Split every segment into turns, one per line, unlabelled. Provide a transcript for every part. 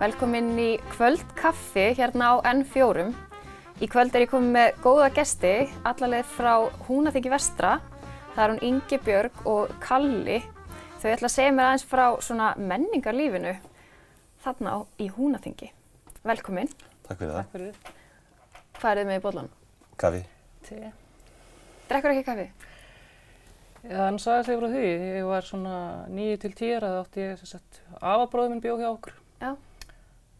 Velkomin í kvöldkaffi hérna á N4. Í kvöld er ég komin með góða gesti, allalegð frá Húnaþyggi vestra. Það er hún Ingi Björg og Kalli. Þau ætla að segja mér aðeins frá svona menningarlífinu þarna á, í Húnaþingi. Velkomin.
Takk fyrir það.
fyrir
Hvað er þið með í bollan?
Kaffi.
te.
Drekkur ekki kaffi?
Já, hann sagði sig frá því. Ég var svona 9 til 10 ára, þá átti ég sem sagt, afabróðum minn bjó hjá okkur
Já.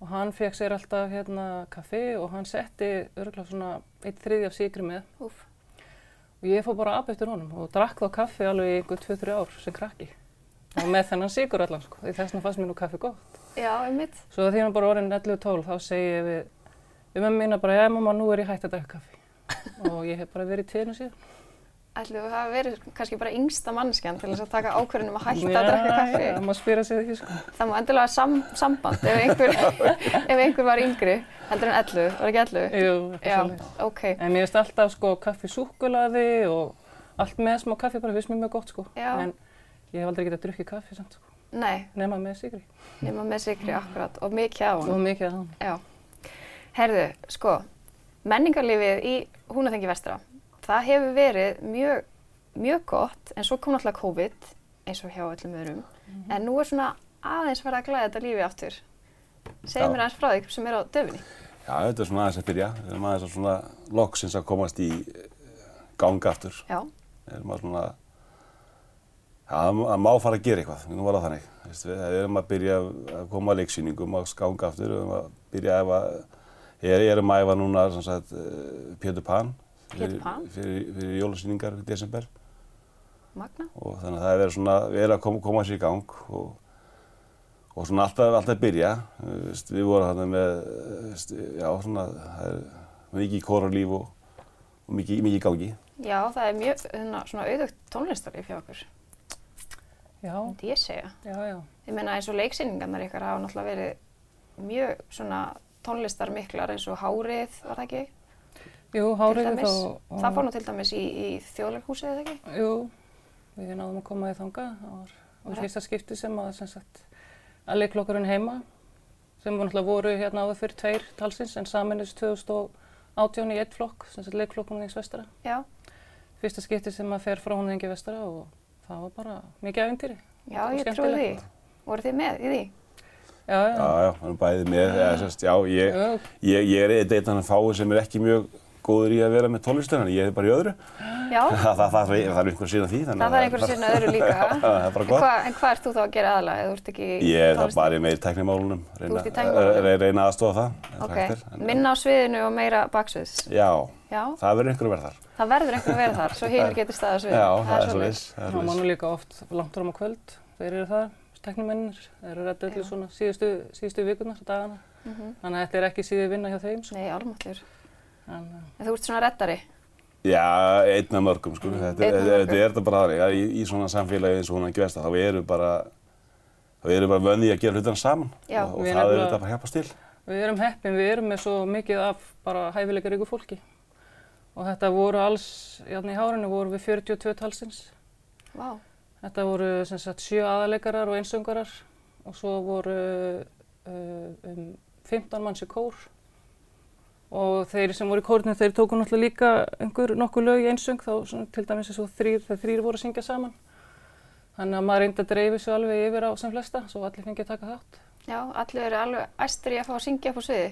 og hann fekk sér alltaf hérna kaffi og hann setti örgulega svona eitt þriði af sigri með
Úf.
og ég fór bara að apa eftir honum og drakk þá kaffi alveg í ykkur 2-3 ár sem krakki og með þennan sigur allan sko, því þess vegna fannst mér nú kaffi gott.
Já, einmitt.
Svo því hann bara orðin 11-12 þá segi ég við, við mömmu mína bara, já mamma, nú er ég hægt að drakka kaffi og ég hef bara verið í tíðinu síðan.
Ætlu þú hafa verið kannski bara yngsta manneskjan til þess að taka ákvörðunum að hætta að drekka kaffi.
Já, maður spyrir sig því sko.
Það má endilega sam, samband ef einhver, ef einhver var yngri heldur en 11, var ekki 11?
Jú, eitthvað
Já,
svoleiðis.
ok.
En mér finnst alltaf sko kaffi súkkulaði og allt með smá kaffi bara finnst mér mjög gott sko.
Já.
En ég hef aldrei getað drukkið kaffi samt sko.
Nei,
Nefna með sigri.
nema með sigri akkurat og mikið á
Og
hann.
mikið að hann.
Já. Herðu, sko, menningarlífið í Húnaþengi vestra, það hefur verið mjög, mjög gott en svo kom náttúrulega COVID eins og hjá öllum öðrum.
Mhm.
En nú er svona aðeins verið að glæða þetta lífi aftur. Segð
Já.
mér aðeins frá því sem er á döfinni.
Já, þetta er svona aðeins að byrja. Við erum aðeins að svona loksins að komast í ganga aftur.
Já,
Við erum að svona, já, það má- það má fara að gera eitthvað. Nú var það þannig. Veist, við, við erum að byrja að koma að leiksýningum að ganga aftur. Við erum að byrja að æfa, ég ég erum að æfa núna sem sagt eh, Pétur Pan.
Pétur Pan?
Fyrir, fyrir, fyrir jólasýningar í desember.
magna.
og þannig að það er verið svona, við erum að koma, koma sér í gang og, og svona alltaf, alltaf að byrja, Eh, veist, við vorum þarna með, eh, veist, já svona, það er mikið kóralíf og, og mikið, mikið í gangi.
Já, það er mjög hérna, svona auðvögt tónlistarlíf hjá okkur,
Já,
myndi ég segja.
já, já.
Ég meina eins og leiksýningarnar ykkar hafa náttúrulega verið mjög svona tónlistar miklar eins og Hárið, var það ekki?
Jú,
Til
hárið
dæmis. Það fór nú til dæmis í, í þjóðleikhúsið, eða ekki?
Jú, við náðum að koma í þanga. Það var, var
Já.
fyrsta skipti sem að, sem sagt, að leiklokkurinn heima sem var náttúrulega voru hérna áður fyrir tveir talsins en saminist 2018 í eitt flokk, sem sagt leiklokkurinn í Svestara.
Já.
fyrsta skipti sem maður fer frá hún engi vestara og það var bara mikið ævintýri.
Já,
Og
ég trúi því.
skemmtilegt.
Voru þið með í því?
Já, já,
Já, já, við erum bæðið með, eða, sérst, já, ég,
já,
ég, ég er eitt eitt hann fáið sem er ekki mjög góður í að vera með tónlistunni, ég er bara í öðru.
Já,
Það, það, það, það, það er einhver síðan því. þannig
það
að
þarf einhver sinna öðru líka.
Það er bara
En
gott.
hvað- En hvað ert þú þá að gera aðalega, eða þú ert ekki
Ég er það
tónlistar-
bara meir í tæknimálunum,
Þú
reyna,
ert í tæknimálunum?
re- reyna aðstofa það. ef hægt
Ok,
er, en-
minna á sviðinu og meira baksviðs.
Já,
Já,
það verður einhverju verðar.
það verður einhver að vera þar, svo hinir getur staðið á sviðinu.
Já, það er svo
svoleiðis.
Það er
það má
svoleiðis.
nú líka oft langt fram á kvöld, þeir eru það, teknimennir, þeir eru rétt öllu
Já.
svona síðustu, síðustu vikunar, dagana,
Mhm.
þannig að þetta er ekki síði vinna hjá þeim, sko.
Nei, almáttur.
en uh,
En þú ert svona reddari?
Já, einn af mörgum, sko. Þetta,
Mm. Einn af
þetta,
mörgum.
þetta er þetta bara þannig. að Í, í svona samfélagi eins og hún að gesta, þá eru bara, þá eru bara vöndi að gera hlutina saman.
Já.
og, og
Við
það
erum
er
bara-
þetta bara hjapast til.
við erum heppin, við erum með svo mikið af bara hæfileika ríku fólki og þetta voru alls, járn í hárinu voru við 42 talsins,
Vá.
Þetta voru sem sagt sjö aðalegarar og einsöngarar og svo voru uh, um 15 manns í kór og þeir sem voru í kórnum þeir tóku náttúrulega líka einhver nokkuð lög í einsöng þá svona, til dæmis eins og þrýr, þeir þrýr voru að syngja saman. Þannig að maður reyndi að dreifi svo alveg yfir á sem flesta svo allir fengið að taka þátt.
Já, allir eru alveg æstur í að fá að syngja upp á sviði.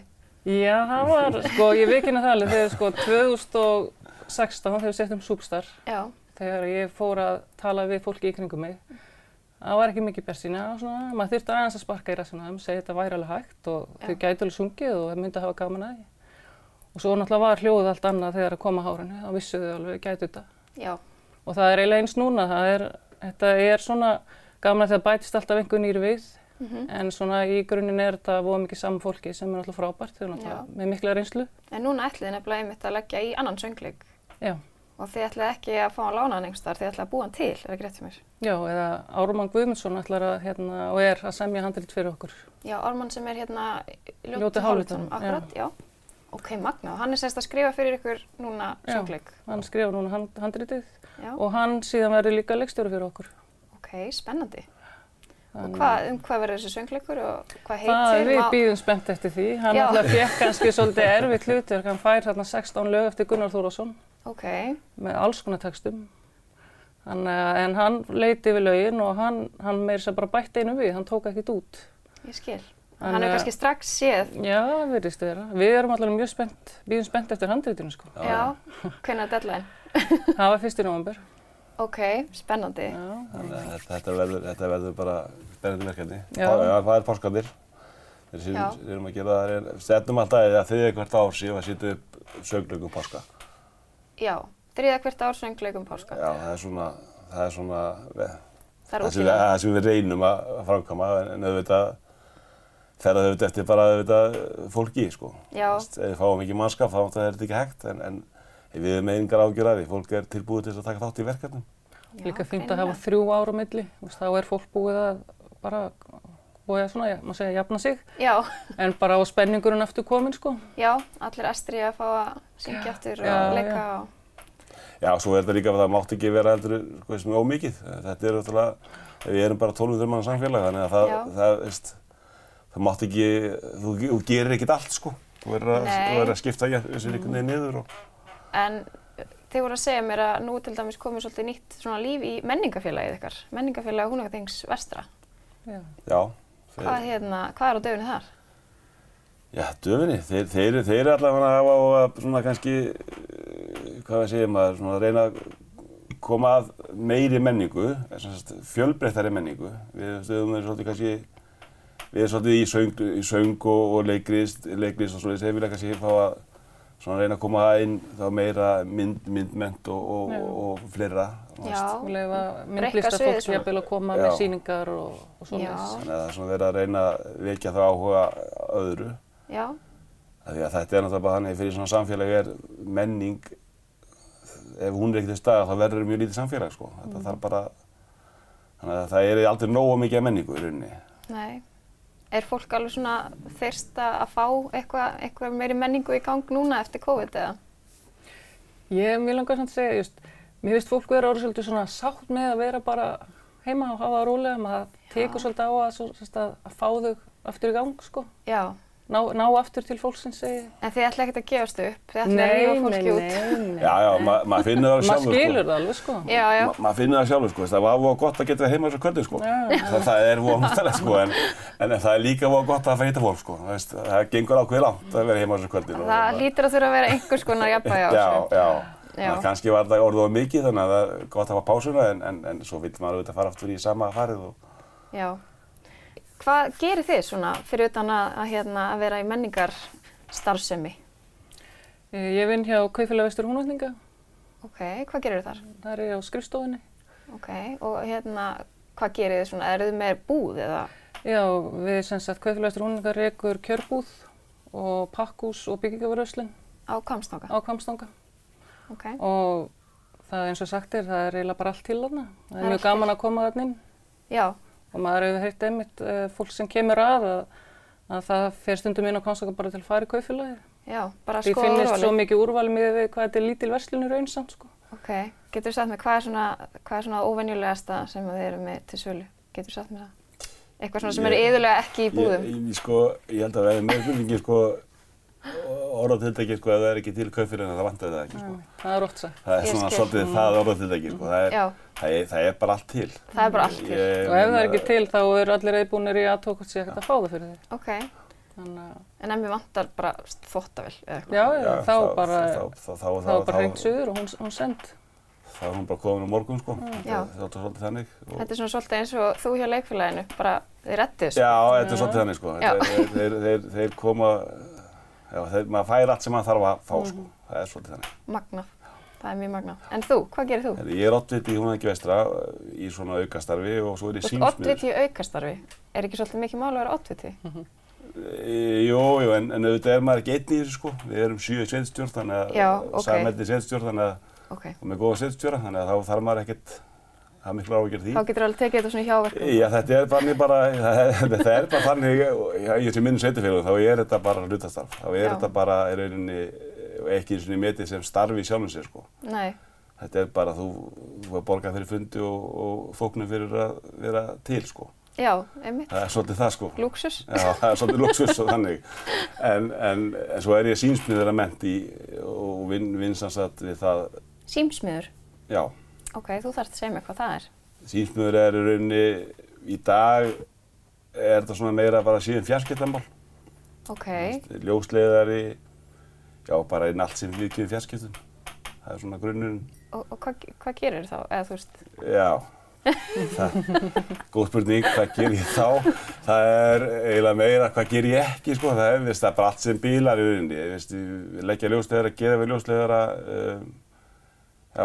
Já, það var, sko, ég vikina það alveg þegar sko 2016 þegar við settum Súpstar
Já,
þegar ég fór að tala við fólki í kringum mig það var ekki mikið bersýna svona, maður þurfti aðeins að sparka í rassina um segja þetta væri alveg hægt og
Já.
þau gæti alveg sungið og þau myndi að hafa gaman að því og svo náttúrulega var hljóð allt annað þegar að koma hárinu þá vissu þau alveg gæti þetta
já,
og það er eiginlega eins núna það er, þetta er svona gaman að það bætist alltaf einhver nýri við
Mhm.
en svona í grunninn er þetta voða mikið saman fólki sem er alltaf frábært þau eru
Já.
náttúrulega með mikla reynslu
en núna ætlið þið nefnilega einmitt að leggja í annan söngleik
Já.
og þið ætlið ekki að fá að lána hann einhverstaðar, þið ætlið að búa hann til, er ekki rétt fyrir mér?
Já, eða Árumann Guðmundsson ætlar að, hérna, og er að semja handrit fyrir okkur.
Já, Orman sem er hérna í
Ljótu hálfvitanum,
akkurat, já. Ok, Magna, og hann er sérst að skrifa fyrir ykkur núna
Já.
söngleik.
Hann skrifa núna hand, handritið
Já,
og hann síðan verður líka leikstjóri fyrir okkur.
ok, spennandi. Og hvað, um hvað verður þessi söngleikur og hvað heitir?
Mm. Það við
Má-
býðum spennt eftir því. Hann
Já.
alltaf fekk kannski svolítið erfitt hlutverk. Hann fær hérna 16 lög eftir Gunnar Þórásson
Ok,
með alls konar textum. Hann, eh, en hann leiti yfir lögin og hann, hann meir sem bara bætt einu við. Hann tók ekkit út.
ég skil.
Hann,
Hann
eh,
hefur kannski strax séð,
Já, verðist vera. Við erum allavega mjög spennt, býðum spennt eftir handreitinu sko.
Já,
já, hvenær deadline?
Það var fyrst í november.
Ok, spennandi.
Já,
Þannig að þetta- Þetta verður, þetta verður bara spennandi verkefni.
Já.
Það, já, það er páskandir. Þeir sem
Já.
við erum að gera það, er, stefnum alltaf eða þriðja hvert ár síðan að setja upp söngleikum páska.
Já, þriða hvert ár söngleikum páska.
Já, það er svona, það er svona, ve-
Það er
það sem, við,
útlýðan.
það sem við reynum að að framkama, en- en auðvitað ferða auðvitað eftir bara auðvitað fólki, sko.
Já.
Þú veist, Ef við fáum ekki mannskap, þá er þetta ekki hægt, en, en við erum með engar ágjur af því. Fólk er tilbúið til þess að taka þátt í verkefnum.
Líka fínt að hafa þrjú ára milli. Þú veist, Þá er fólk búið að bara, búið að svona, ja, maður segja, jafna sig.
Já,
En bara á spenningurinn aftur komin sko.
já, allir estri að fá að syngja aftur og
Já,
leika
já.
og...
Já, svo er þetta líka að það mátt ekki vera heldur sko, sem er ómikið. Þetta er náttúrulega, við erum bara 1200 mann samfélag, þannig að það,
Já.
það, veist, það mátt ekki, þú, þú gerir ekkert allt, sko. Þú verður að,
Nei.
þú verður að skipta í þessu einhvern veginn niður og...
En eh, þið voru að segja mér að nú til dæmis komið svolítið nýtt svona líf í menningafélagið ykkar. Menningafélagið Húnakaþings Vestra.
Já.
Já,
Hvað, hérna, hvað er á döfni þar?
já, döfinni, þeir, þeir, þeir eru allavega að hafa og að svona kannski, eh, hvað við segjum maður, svona að reyna að koma að meiri menningu, eh, sem sagt, fjölbreyttari menningu. Við stöðum þeir svolítið kannski við erum svolítið í söng, í söng og, og leikrist, leikrist og svoleiðis, þeir vilja kannski fá að svona reyna að koma inn þá meira mynd, myndment og, og,
Já.
og, og fleira. þú veist.
Já.
og leifa
Breikka
myndlistar
sviðið
fólk
svona.
jafnvel að koma
Já.
með sýningar og, og svona
Já.
Þannig að það er svona verið að reyna að vekja þá áhuga öðru.
Já,
Af Því að þetta er náttúrulega bara þannig fyrir svona samfélag er menning, ef hún er ekki til staða þá verður mjög lítið samfélag sko. Þetta þarf bara, þannig að það er aldrei nógu mikið af menningu í rauninni.
nei. Er fólk alveg svona þyrsta að fá eitthvað eitthva meiri menningu í gang núna eftir COVID eða?
Ég mér langar samt að segja, just, mér finnst fólk vera orðið svolítið svona sátt með að vera bara heima og hafa það rólega, maður tekur svolítið á að, svo, sérst, að, að fá þau aftur í gang, sko.
Já,
Ná, ná aftur til fólksins, segi ég.
en þið ætla ekkert að gefast upp, þið ætla að rífa fólki út.
nei.
Já, já, ma maður finnur það
Maður
sjálfur
skilur það alveg, sko.
Já, já,
Ma- maður finnir það sjálfur sko, það var voða gott að geta verið heima þessu kvöldi sko,
Já.
það, það er voða náttúrulega sko, en, en það er líka voða gott að fara hitta fólk sko, það, veist, það gengur ákveði langt að vera heima þessu kvöldi. sko.
það hlýtur að þurfa að vera einhvers konar jafnvægi á
Já,
þessu.
já,
Já.
já. kannski var það orðið of mikið þannig að það er gott að hafa pásuna en, en, en svo vill maður auðvitað fara aftur í sama farið og
Já. Hvað gerir þið svona fyrir utan að, að, hérna, að vera í menningar starfsemi?
Eh, Ég vinn hjá Kaufélag Vestur Húnvætninga,
Ok, hvað gerir þar?
þar er ég á skrifstofunni.
Ok, og hérna, hvað gerir þið svona? Eru þið með búð eða?
Já, við sem sagt Kaufélag Vestur Húnvætninga rekur kjörbúð og pakkús og byggingavöröslinn
Á kamstanga?
á Kvamstanga.
Ok,
og það er eins og sagt er, það er eiginlega bara allt til þarna. Það
Það er
er mjög
allt til.
gaman að koma þarna inn
já,
og maður hefur heyrt einmitt uh, fólk sem kemur að að, að það fer stundum inn á konstaka bara til að fara í kaufélagi.
já, bara
Því
skoða
finnist svo
úrvalið.
mikið úrvali miðið við hvað þetta er lítil verslunur einsamt sko.
Ok, getur þú sagt mér, hvað er svona, hvað er svona óvenjulegasta sem að þið eru með til sölu? Getur þú sagt mér það? Eitthvað svona sem
Ég-
eru yðurlega ekki í búðum?
Ég, ég, sko, ég held að það er með spurningi sko, orðatiltæki sko, ef það er ekki til kaufirinn það vantar það ekki sko.
Það er ótt sagt.
Það er
Mm. Ég
svona
skil. Mm.
svolítið það orðatiltæki sko, það er,
Já.
það, er, það er bara allt til.
Það er bara allt til.
Ég
Og ef það er
meina-
ekki til þá eru allir reyðbúnir í aðtókast sé ekkert að fá það fyrir þig.
Ok,
Þannig að,
en ef mér vantar bara þvottavel eða eitthvað?
já, já, þá bara,
þá, þá, þá,
þá er bara hreint suður og hún, hún send.
þá er hún bara komin á morgun sko
Mm, Já.
það er alltaf svolítið þannig og,
Þetta er svona svolítið eins og þú hjá leikfélaginu, bara þið rettið þessu.
já, þetta er svolítið þannig sko
Já.
þeir, þeir, þeir, þeir koma já, þeir, maður fær allt sem maður þarf að fá
Mm.
sko það er svolítið þannig
Magnað, það er mjög magnað. En þú, hvað gerir þú?
Herri, ég er oddviti í Húnæki vestra eh, í svona aukastarfi og svo er ég
Þú ert
símsmiður
oddviti í aukastarfi. Er ekki svolítið mikið mál að vera oddviti?
E, Jú, jú, en, en auðvitað er maður ekki einn í þessu sko við erum sjö í sveitstjórn þannig að
Já, ok.
sameldi sveitstjórn þannig að
Ok,
og með góða sveitstjóra þannig að þá þarf maður ekkert það er miklu áhugjör því
þá getur alveg tekið þetta svona í hjáverkum.
Já, þetta er þannig bara, þetta er bara þannig, já, ég sem minn sveitifélag, þá er þetta bara hlutastarf. Þá er
Já.
þetta bara, er rauninni, ekki eins og metið sem starfi í sjálfum sér, sko.
Nei,
Þetta er bara, þú, þú er borgað fyrir fundi og, og fóknum fyrir að vera til, sko.
Já, einmitt.
Það er svolítið það sko.
Lúksus.
Já, það er svolítið luxus og þannig. En, en, en svo er ég sínsmið þeirra menti og vinn vin sannsagt við það,
Símsmiður.
já,
Ok, þú þarft að segja mér hvað það er.
sínsmiður er í rauninni, í dag er þetta svona meira bara síðan fjarskiptamál.
Ok,
Ljósleiðari, já, bara inn allt sem líkið fjarskiptum. Það er svona grunnurinn.
og, og hvað, hvað gerir þá? Eða þú veist,
Já, það, góð spurning, hvað ger ég þá? Það er eiginlega meira, hvað ger ég ekki, sko, það er, veist, það er bara allt sem bílar í rauninni, veist, leggja ljósleðara, gera við ljósleðara, um, já,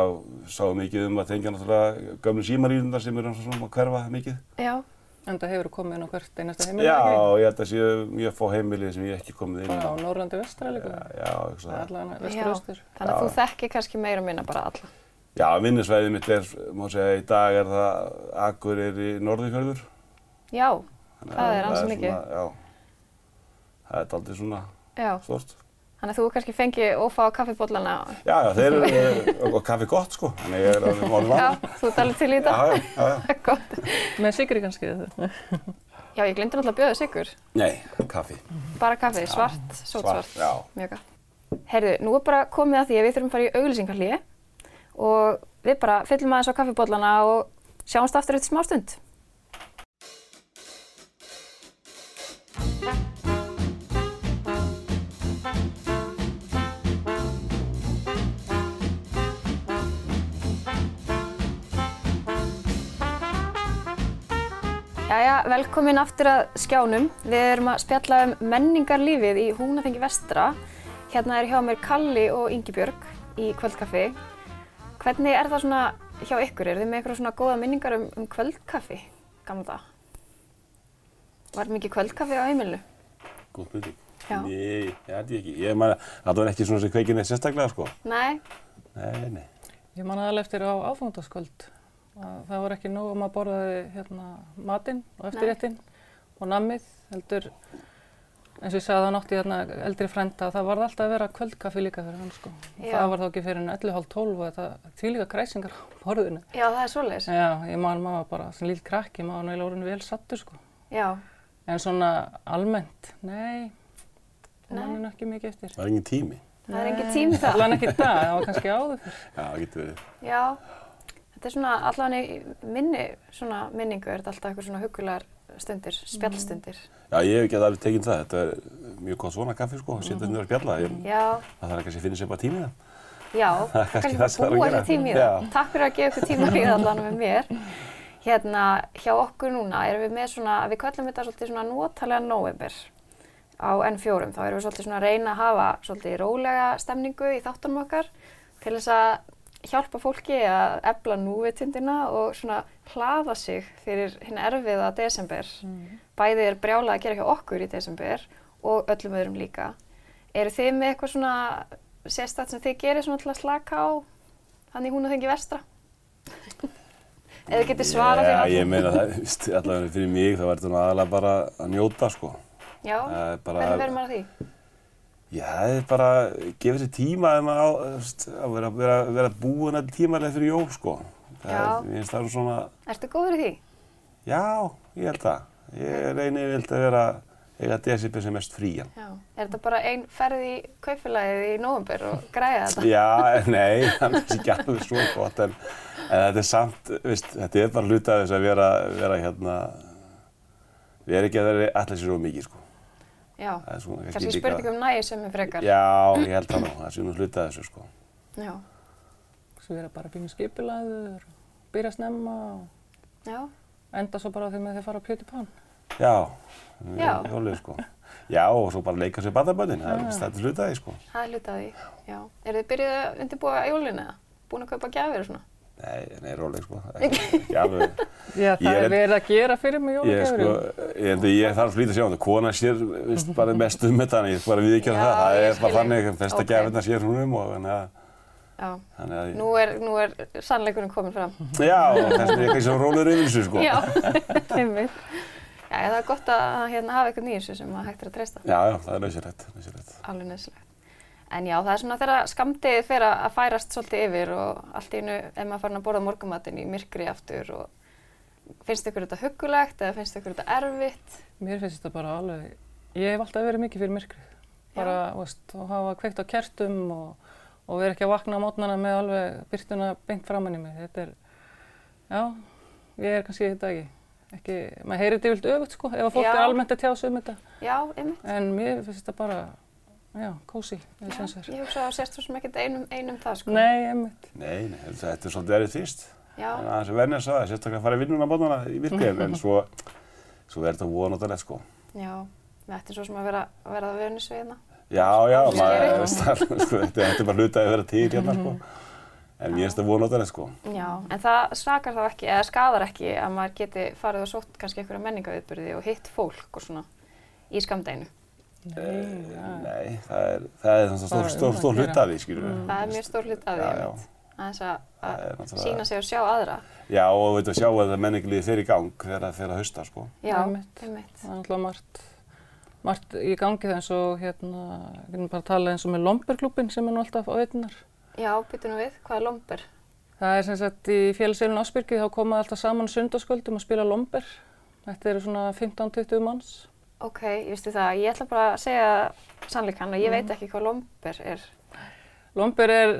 sáum mikið um að tengja náttúrulega gömlu símarýrundar sem eru svona að hverfa mikið.
já,
En það hefur komið inn á hvert einasta heimil.
Já, ég held að séu mjög fá heimilið sem ég hef ekki komið inn
Bara á
á.
Norrlandi vestra líka.
Já, já, ekki
Það er
það.
allavega
já.
vestur austur.
Þannig að
Já.
þú þekkir kannski meira og minna bara alla.
Já, vinnusvæðið mitt er, má segja, í dag er það Akureyri Norðurfjörður.
Já,
Þannig
Það
að
er ansi mikið.
svona- Já, það er daldið svona
já.
stort.
Þannig að þú kannski fengi ófá kaffibóllana.
Já, já, þeir eru, eh, og kaffi gott sko, þannig að ég er alveg málum
Já, þú ert alveg til í þetta.
já, já, já.
Gott.
Með sigri kannski þetta.
Já, ég glemdi náttúrulega að bjóða sigur.
Nei, kaffi.
Bara kaffi, svart, sótsvart.
já.
Mjög gott. Herðu, nú er bara komið að því að við þurfum að fara í auglýsingarlíi og við bara fyllum aðeins á kaffibóllana og sjáumst aftur eftir smá stund. Jæja, velkomin aftur að skjánum. Við erum að spjalla um menningarlífið í Húnafengi vestra. Hérna er hjá mér Kalli og Ingibjörg í kvöldkaffi. Hvernig er það svona hjá ykkur? Er þið með eitthvað svona góða minningar um, um kvöldkaffi? Gamla það. Var mikið kvöldkaffi á heimilinu?
Góð spurning.
Já.
Nei, ég held ég ekki. Ég man að það var ekki svona sem kveikin er sérstaklega sko.
Nei?
Nei, nei.
Ég man aðal eftir á áfangtaskvöld. Það var ekki nóg um að borðaði hérna, matinn og eftirréttin og nammið. Heldur, eins og ég sagði það nátti hérna eldri frænda að það varð alltaf að vera kvöldkaffi líka fyrir hann sko. Og
Já.
Það var þá ekki fyrir en 11.30 og þetta þvílíka kræsingar á borðinu.
Já, það er svoleiðis.
Já, ég man maður bara sem lítið krakki, maður nægilega orðin vel sattur sko.
Já.
En svona almennt, nei,
Nei.
það manninn ekki mikið eftir.
Það er engin tími.
Það er engin tími það.
Allan ekki í dag, það var kannski áður fyrir.
Já, það getur verið.
Já. Þetta er svona allavega í minni, svona minningu, er þetta alltaf eitthvað svona hugulegar stundir, spjallstundir.
Já, ég hef ekki alveg tekinn það. Þetta er mjög gott svona kaffi sko, að setja niður að spjalla. Ég,
Já,
það þarf kannski að finna sér bara tími í það.
Já,
Það er kannski
kannski
það sem
bara
þarf að
búa
gera.
sér tíma í
Já.
það. Takk fyrir að gefa ykkur tíma í það allan með mér. Hérna, hjá okkur núna erum við með svona, við kallum þetta svolítið svona notalega november á N4. Þá erum við svolítið svona að reyna að hafa svolítið rólega stemningu í þáttunum okkar til þess að hjálpa fólki að efla núvitundina og svona hlaða sig fyrir hinn erfiða desember. Bæði er brjálað að gera hjá okkur í desember og öllum öðrum líka. Eru þið með eitthvað svona sérstætt sem þið gerir svona til að slaka á þannig hún að þengi vestra? Eða getið svarað hérna.
Já,
fyrir
ég meina það, víst, allavega fyrir mig þá verður það aðalega bara að njóta sko.
Já,
það er bara-
hvernig verður maður að því?
Já, það er bara, gefa sér tíma ef maður á, þú veist, að vera, vera, vera búin all tímalega fyrir jól, sko. Það
Já.
Er, mér finnst það svona,
Ertu góður í því?
já, ég held það. Ég reyni vilt að vera, eiga desibir sem mest frían.
Já. Er þetta bara ein ferð í kaupfélagið í nóvumber og græða þetta?
Já, nei, það er ekki alveg svo gott, en, en þetta er samt, veist, þetta er bara hluti af þess að vera, vera hérna, við erum ekki að vera allir sér of mikið, sko.
Já,
Það er svona
kannski spurning um nægir sem er frekar.
Já, ég held það nú, það sé nú hluti af þessu, sko.
Já.
Svo vera bara pínu skipulaður, byrja snemma og
Já.
enda svo bara á því með því að fara að pljóti pán.
Já,
Já. Ah.
jólið sko. Já, og svo bara leika sér badaböndin, það er víst þetta hlutaði sko.
það er hluti af því. Já. Er þið byrjuð að undirbúa jólina eða? Búin að kaupa gjafir og svona?
Nei, nei, róleg sko, ekki, ekki alveg.
Já, það
Ég er-
er verið að gera fyrir mig
Ég sko,
jólagjöfurinn.
ég, held að ég þarf að flýta sér á þetta, kona sér, veist, bara mest um þetta, þannig ég bara við ekki
Já,
það, það
ég
er
skil.
bara þannig, festa
Ókei.
okay. gæfinna sér hún um og þannig að,
Já.
þannig að,
Nú er, nú er sannleikunum komin fram.
já, og þess vegna er ég kannski svo rólegur yfir þessu sko.
Já, einmitt. Já, það er gott að hérna, hafa eitthvað nýjinsu sem að hægt er að treysta.
Já, já, það er nöðsynlegt, nöðsynlegt.
Alveg nöðsilegt. En já, það er svona þegar skamdegið fer að að færast svolítið yfir og allt í einu er maður farin að borða morgumatinn í myrkri aftur og finnst ykkur þetta huggulegt eða finnst ykkur þetta erfitt?
Mér finnst þetta bara alveg, ég hef alltaf verið mikið fyrir myrkrið. Bara, þú veist, og hafa kveikt á kertum og, og verið ekki að vakna á mótnana með alveg byrtuna beint framann í mig. Þetta er, já, ég er kannski þetta ekki. Ekki, maður heyrir þetta yfirlt öfut, sko, ef að fólk
Já.
er almennt að tjá sig um þetta.
Já, einmitt.
En mér finnst þetta bara, já, kósi, eða sem
Já,
þess er.
ég hugsa að það sérst svo sem ekkert einum, einum það sko.
Nei, einmitt.
Nei, nei, þetta er svolítið erið fyrst.
Já,
En aðeins að venja þess að það, sérstaklega að fara í vinnuna á bátana í virkið, en svo, svo er þetta vonatalegt sko.
já. Þetta er svo sem að vera, að vera það vönis við hérna.
Já, já,
Skeri.
maður veist það, sko, þetta þetta er bara hluta að vera til hérna sko.
Mhm.
En mér finnst þetta vonatalegt sko.
Já, en það sakar þá ekki, eða skadar ekki að maður geti farið og sótt kannski einhverja menningaviðburði og hitt fólk og svona í skamdeginu.
Nei, já.
Nei, það er, það er þannig að
Bara
stór, stór,
um
stór
að
hluta
gera.
af því, skilur við.
Mm. Það er mjög stór hlut að því,
Mm. Já, já.
einmitt. Aðeins að,
Það er
að
náttúrulega-
sína sig og sjá aðra.
Já, og veit að sjá að það menninglið fer í gang þegar það fer að hausta, sko.
Já,
Einmitt.
einmitt.
Það er náttúrulega margt, margt í gangi það eins og hérna, við erum bara að tala eins og með Lomberklubin sem er nú alltaf á veitunar.
Já, býtum við, hvað er lomber?
Það er sem sagt í félagseflun Ásbyrgi þá koma alltaf saman sundarskvöldum að spila lomber. Þetta eru svona 15-20 manns.
Ok, ég veistu það, ég ætla bara að segja sannleikann og ég
Mm.
veit ekki hvað lomber er.
Lomber er,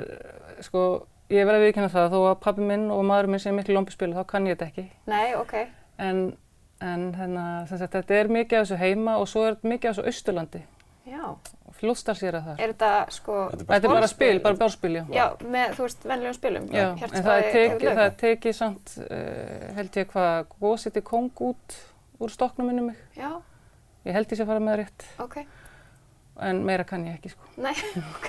sko, ég verði að viðkynna það þó að pabbi minn og maður minn sem er miklu lomberspilu þá kann ég þetta ekki.
Nei, ok,
En, en hérna, sem sagt, þetta er mikið af þessu heima og svo er mikið af þessu austurlandi.
já.
Fljóðstalsýra þar.
Er þetta sko,
Þetta er
Þetta er bara spil, bara bárspil, já.
já, með, þú veist, venlegum spilum?
Já, en það er tekið, það er tekið samt, uh, held ég hvað, góðsitt í kong út úr stokknum minni mig.
Já,
Ég held ég sé að fara með það rétt,
ok,
en meira kann ég ekki, sko.
nei, ok,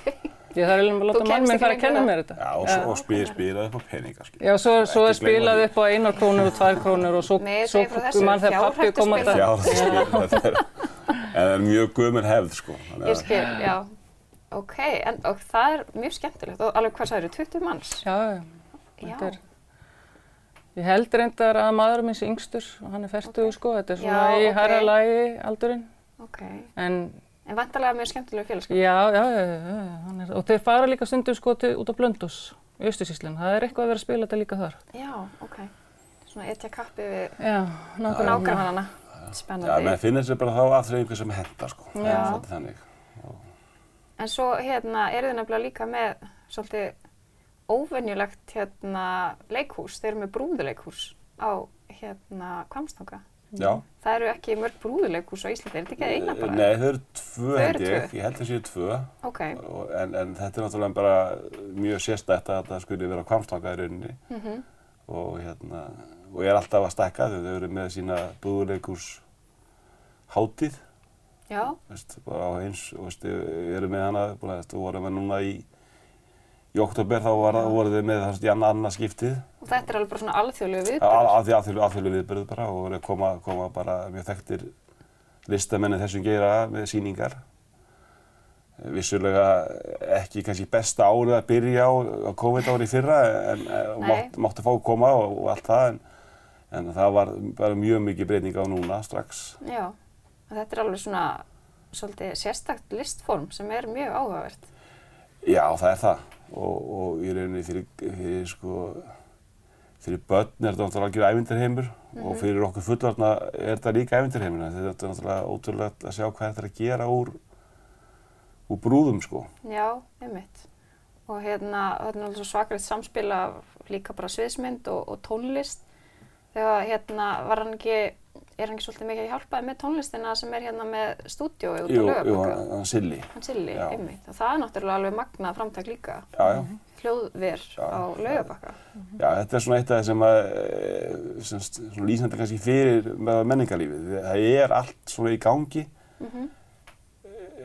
Ég þarf eiginlega
Þú
að láta mann
kemst
minn
ekki
fara að kenna
lengra.
mér þetta.
Já, og, svo, og spyr, spyrað upp á peninga, sko. skilur við.
Já, svo, svo er
Ekki gleyma
spilað
því.
upp á einar krónur og tvær krónur og svo,
Nei,
svo
segðu frá þessu,
mann þegar pappi kom að
fjárhættuspil.
það.
Já, það skilur við. þetta er- En það er mjög gömur hefð, sko. Þannig
ég
að-
skil, já. Ok, en, og það er mjög skemmtilegt og alveg hvað sagður, 20 manns?
Já, já, þetta
Já,
er... Ég held reyndar að maður minn sé yngstur og hann er fertuðu, sko. Þetta er svona
Já,
í
ok.
hærra lagi aldurinn.
ok,
En
en vantarlega mjög skemmtilega félagskap.
Já, já, já, já, já, hann er, og þeir fara líka stundum sko til, út á Blöndús í Östusíslinn, það er eitthvað að vera að spila þetta líka þar.
Já, ok, svona etja kappi við
Já, nákvæmlega.
nágrannana,
Já,
spennandi.
menn finnir sér bara þá aftur einhver sem henda, sko. Það er
Já.
svolítið þannig.
En svo hérna eru þið nefnilega líka með svolítið óvenjulegt hérna leikhús, þeir eru með brúðuleikhús á hérna Kvamstanga.
Já.
Það eru ekki mörg brúðuleikhús á Íslandi, er þetta ekki eina bara?
Nei, þau eru tvö,
Þau eru
held ég.
tvö.
Ég held að séu tvö.
Ok,
Og- En, en þetta er náttúrulega bara mjög sérstætt að þetta skulle vera kvamstanga í rauninni.
mm
og hérna og er alltaf að stækka þau, þau eru með sína brúðuleikurs hátíð
já,
veist, bara á eins og veist, eru með hana búin að veist, og voru með núna í í oktober þá var, voru þau með þess, í annað, annað skiptið
og þetta er alveg bara svona alþjóðlegu viðbyrður.
af því aðfjölu, aðfjölu viðbyrð bara og voru að koma, koma bara mjög þekktir listamenni þessum geira með sýningar vissulega ekki kannski besta árið að byrja á, á COVID árið í fyrra en, en
Nei.
mátt, máttu fá að koma og, og allt það en, en það var bara mjög mikið breyting á núna strax
Já, og þetta er alveg svona svolítið sérstakt listform sem er mjög áhugavert.
Já, það er það og, og í rauninni fyrir, fyrir sko fyrir börn er þetta náttúrulega algjör ævindarheimur
Mhm.
og fyrir okkur fullorna er þetta líka ævindarheimur þetta er þetta náttúrulega ótrúlega að sjá hvað þetta er að gera úr úr brúðum sko
Já, einmitt. Og hérna, þetta er alveg svo svakarlegt samspil af líka bara sviðsmynd og, og tónlist. Þegar hérna, var hann ekki, er hann ekki svolítið mikið að hjálpaði með tónlistina sem er hérna með stúdiói út á
Jú, jú,
lögaböku?
hann- hann Silli
Hann Silli,
Já.
einmitt. Og það er náttúrulega alveg magnað framtak líka.
Já, já,
Hljóðver
Já,
á
það-
lögabakka.
já, þetta er svona eitt af það sem að eh, sem st- svona lýsandi kannski fyrir með menningarlífið, það er allt svona í gangi
Mm
Mhm.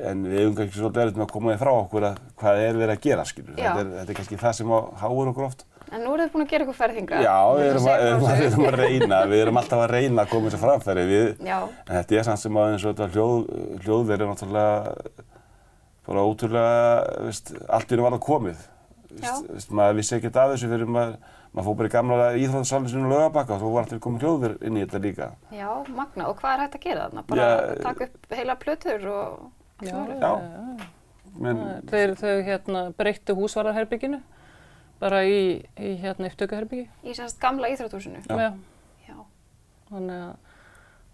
en við hefum kannski svolítið erfitt með að koma því frá okkur að hvað er verið að gera skilur
Já.
þetta er, þetta er kannski það sem á háur okkur oft
En nú eru þið búin að gera eitthvað ferðinga.
Já, við erum, að, erum, að, erum að reyna, við erum alltaf að reyna að koma þessu framfæri. Við,
Já,
en þetta er samt sem að eins og þetta hljóð, hljóðverið er náttúrulega bara ótrúlega, veist, allt í einu var það komið. Veist,
Já.
veist, maður vissi ekkert af þessu fyrir maður, maður fór bara í gamla íþróttasalinn sinu lögabakka og svo var alltaf komið hljóðver inn í þetta líka.
já, magnað. Og hvað er hægt að gera þarna? Bara
Já,
taka upp heila plötur og...
Já, já,
Já.
já.
Men,
Þeir, þau hérna breyttu húsvarðarherbygginu, bara í, í hérna upptökuherbyggi.
Í semst gamla íþrótúsinu.
Já.
Já.
Já,
Þannig að,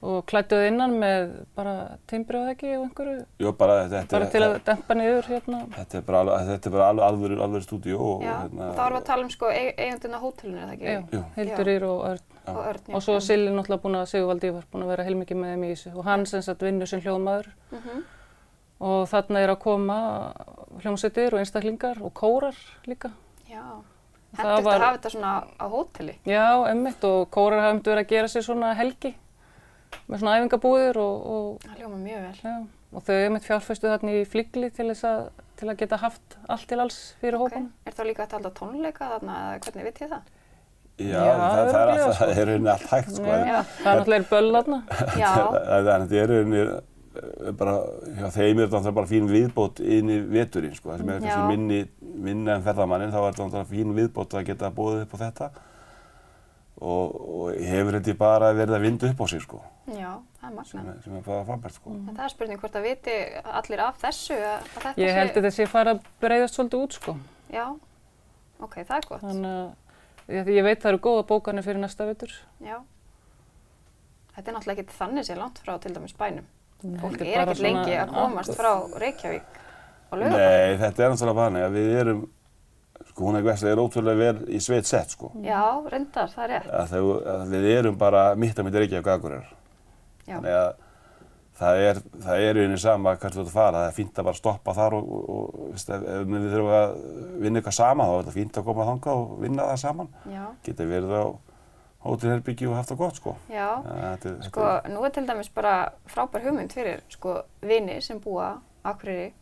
og klættuð innan með bara timbrjóðeggi og einhverju,
Jó, bara þetta,
bara til
þetta,
að dempa niður hérna.
þetta er bara, alveg- þetta er bara alveg alvöru, alvöru stúdíu og
Já,
hérna,
og þá erum við að tala um sko eig eigundin á hótelinu, er það ekki?
Já,
Jú.
Hildurir og Örn.
Og Örn, já. Mhm.
Og svo Silli náttúrulega búin að, Sigurvaldi var búin að vera heilmikið með þeim í þessu og hann sem sagt vinnur sem hljóðmaður
Mhm.
og þarna er að koma hljómsveitir og einstaklingar og kórar líka.
Já.
Það
Hendur
var-
að hafa þetta svona á hóteli.
Já, emmitt og kórar hafum verið að gera sér svona helgi með svona æfingabúðir og, og
Það hljóma mjög vel.
Já, og þau hefur mitt fjárfæstu þarna í flygli til þess að, til að geta haft allt til alls fyrir
Ok.
hópanum.
Er þá líka hægt að halda tónleika þarna eða hvernig veit ég það?
já,
Já,
það, það er
örugglega,
alltaf,
sko.
það er rauninni allt hægt, sko. en-
Já, það er náttúrulega er böll þarna.
Já,
Það er þetta er rauninni eh, bara, hjá þeim er þetta bara fín viðbót inn í veturinn, sko. Það sem er
Já.
kannski minni, minna en ferðamanninn, þá er þetta fín viðbót að geta bóðið upp á þetta. Og, og hefur þetta bara verið að vinda upp á sig, sko,
já, það er
sem
magnað.
er, sem er bara frábært, sko.
En það er spurning hvort að viti allir af þessu að að þetta
Ég held að þessi fara að breyðast svolítið út sko.
Já, ok, það er gott.
Þannig að ég, ég veit það eru góða bókanir fyrir næsta vetur.
Já. Þetta er náttúrulega ekki þannig sér langt frá til dæmis bænum. Fólk
þetta er
er
bara
ekkert lengi
svona-
að komast frá Reykjavík á lögum.
Nei, þetta er náttúrulega bara þannig að við erum, sko, hún er gæst er ótrúlega vel í sveit sett, sko.
Já, reyndar, það er rétt.
Að, þau, að við erum bara mitt að mitt er ekki af Gagurir.
Já,
Þannig að það er, það er unni sama hvernig þú ert að fara. Það er fínt að bara stoppa þar og, og, og veist, ef, ef við þurfum að vinna eitthvað saman, þá er þetta fínt að koma þangað og vinna það saman.
já,
Geta verið á hótelherbyggju og haft það gott, sko.
já.
Þannig að Þetta, er-
Sko, nú er til dæmis bara frábær hugmynd fyrir sko vini sem búa á Akureyri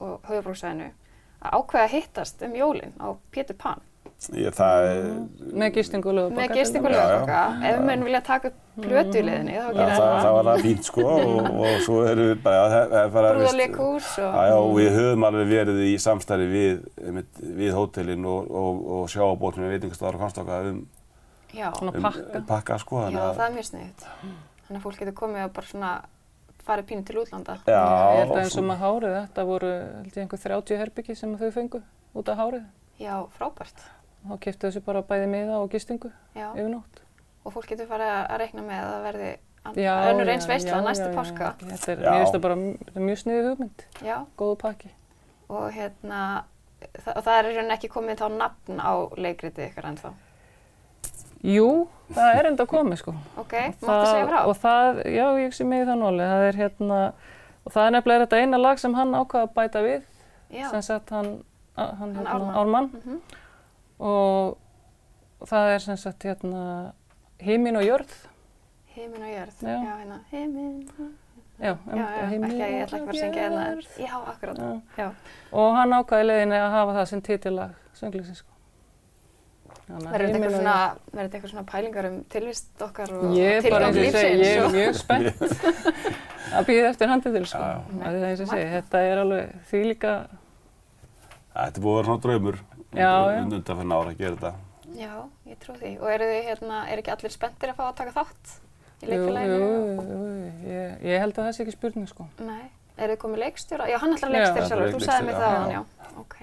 og höfubróksvæðinu að ákveða að hittast um jólin á Pétur Pan
þetta, ég, það er...
mm,
Með gistingu og lögabóka.
með gistingu
Já, já.
lögabokka. Ef menn vilja taka
Mm.
upp plötu í leiðinni þá
Já,
gerir
það, það
það
var það fínt sko og, og svo erum við bara, það það er bara,
brúðarleikhús og
Já, já, og við höfum alveg verið í samstarfi við, einmitt, við hótelin og, og, og sjáabótum við veitingastofar og konstokka um,
já,
Svona
um
pakka.
pakka sko.
já,
þannig að-
það er mjög sniðut. Þannig að fólk getur komið og bara svona farið pínu til útlanda.
Já,
ég held að eins og
svona.
með hárið þetta voru held ég einhver 30 herbyggi sem þau fengu út af hárið.
Já, frábært.
Þá keftu þessu bara bæði miða og gistingu
Já,
yfir nótt.
og fólk getur farið að reikna með að það verði an-
Já,
önnur
já,
eins veistla
já,
næstu
já, já.
páska.
Þetta er,
Já.
mér finnst það bara m- mjög sniðið hugmynd,
Já,
góðu pakki.
og hérna þa og það er í rauninni ekki komið þá nafn á leikritið ykkar ennþá.
Jú, það er enda komið sko.
Ok, máttu segja frá?
Og það, já, ég sé mig í þann óli, það er hérna, og það er nefnilega þetta eina lag sem hann ákvaða að bæta við,
Já,
sem sagt hann, a- hann, hérna,
Ármann.
Ármann,
Mhm.
og það er sem sagt hérna, Himin og jörð,
heimin og jörð. Já,
Já.
hérna, heimin.
já,
Já, já,
himinn
ekki, ég ætla ekki að fara að syngja hérna.
jörð.
en- Já, akkurat.
Já.
Já.
Og hann ákvaði leiðinni að hafa það sem titillag sönglingsins sko. Þannig
Verður
að
þetta
himinn
eitthvað
og
svona, verður þetta eitthvað svona pælingar um tilvist okkar og
Ég er bara
tilgang
eins og ég segi, ég er
lífsins?
mjög spennt að býða eftir handið til sko.
Já, já.
Það er eins og ég segi, þetta er alveg því líka,
Þetta er búið að vera svona draumur
Já, já.
undan fyrir nára að gera þetta.
Og, já, ég trú því. Og eru þið hérna, er ekki allir spenntir að fá að taka þátt í
jú, jú,
leikfélaginu?
jú, ég, ég held að það sé ekki spurning sko.
Nei, eru þið komið leikstjóra? Já, hann ætlar
Já.
leikstjóra
Hann ætlar
sjálfur, þú sagði mér
leikstjóra,
það á
já.
hann, já. Ok.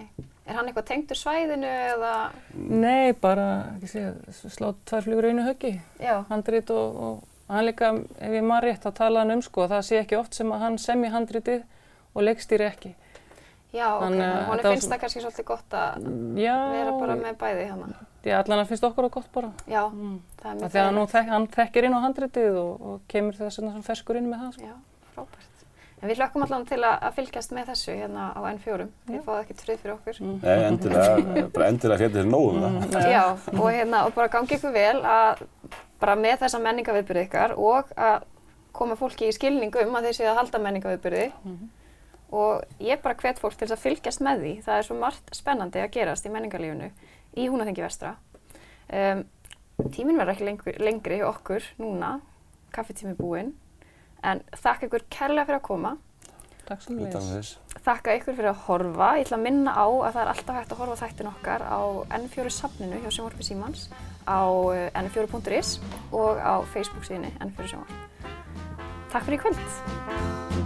Er hann eitthvað tengdur svæðinu eða?
Nei, bara, ekki sé, slá tvær flugur í einu höggi,
Já,
handrit og, og hann líka, ef ég maður rétt, þá talaði hann um sko, það sé ekki oft sem að hann semji handritið og leikstýri ekki.
já, ok.
Hann,
Þannig,
eh, þetta
honum
var
finnst
svona-
það kannski svolítið gott að
Já,
vera bara með bæði hann.
já, allan að finnst okkur á gott bara.
Já,
Mm.
það er
Af
mjög
Því að nú
þægilegt.
þek, hann þekkir inn á handritið og, og kemur þess vegna svona ferskur inn með það sko.
Já, frábært. En við hlökkum allan til að, að fylgjast með þessu hérna á N4. Þið fáið ekkert frið fyrir okkur.
Nei, endilega, bara endilega fjöldi þér nóg um það.
Mm,
Já, og hérna, og bara gangi ykkur vel að bara með þessa menningaviðbyrði ykkar og að koma fólki í skilning um að þeir séu að halda menningaviðbyrði og ég bara hvet fólk til þess að fylgjast með því. Það er svo margt spennandi að gerast í menningarlífinu í Húnaþengi vestra. Um, tíminn verður ekki lengur, lengri hjá okkur núna, kaffetími búinn, en þakka ykkur kærlega fyrir að koma.
Takk sem
Utan þess.
þakka ykkur fyrir að horfa. Ég ætla að minna á að það er alltaf hægt að horfa á þættin okkar á N4 safninu hjá Sjónvarpi Símans á eh, n4.is og á Facebook síðinni N4 Sjónvarp. Takk fyrir í kvöld!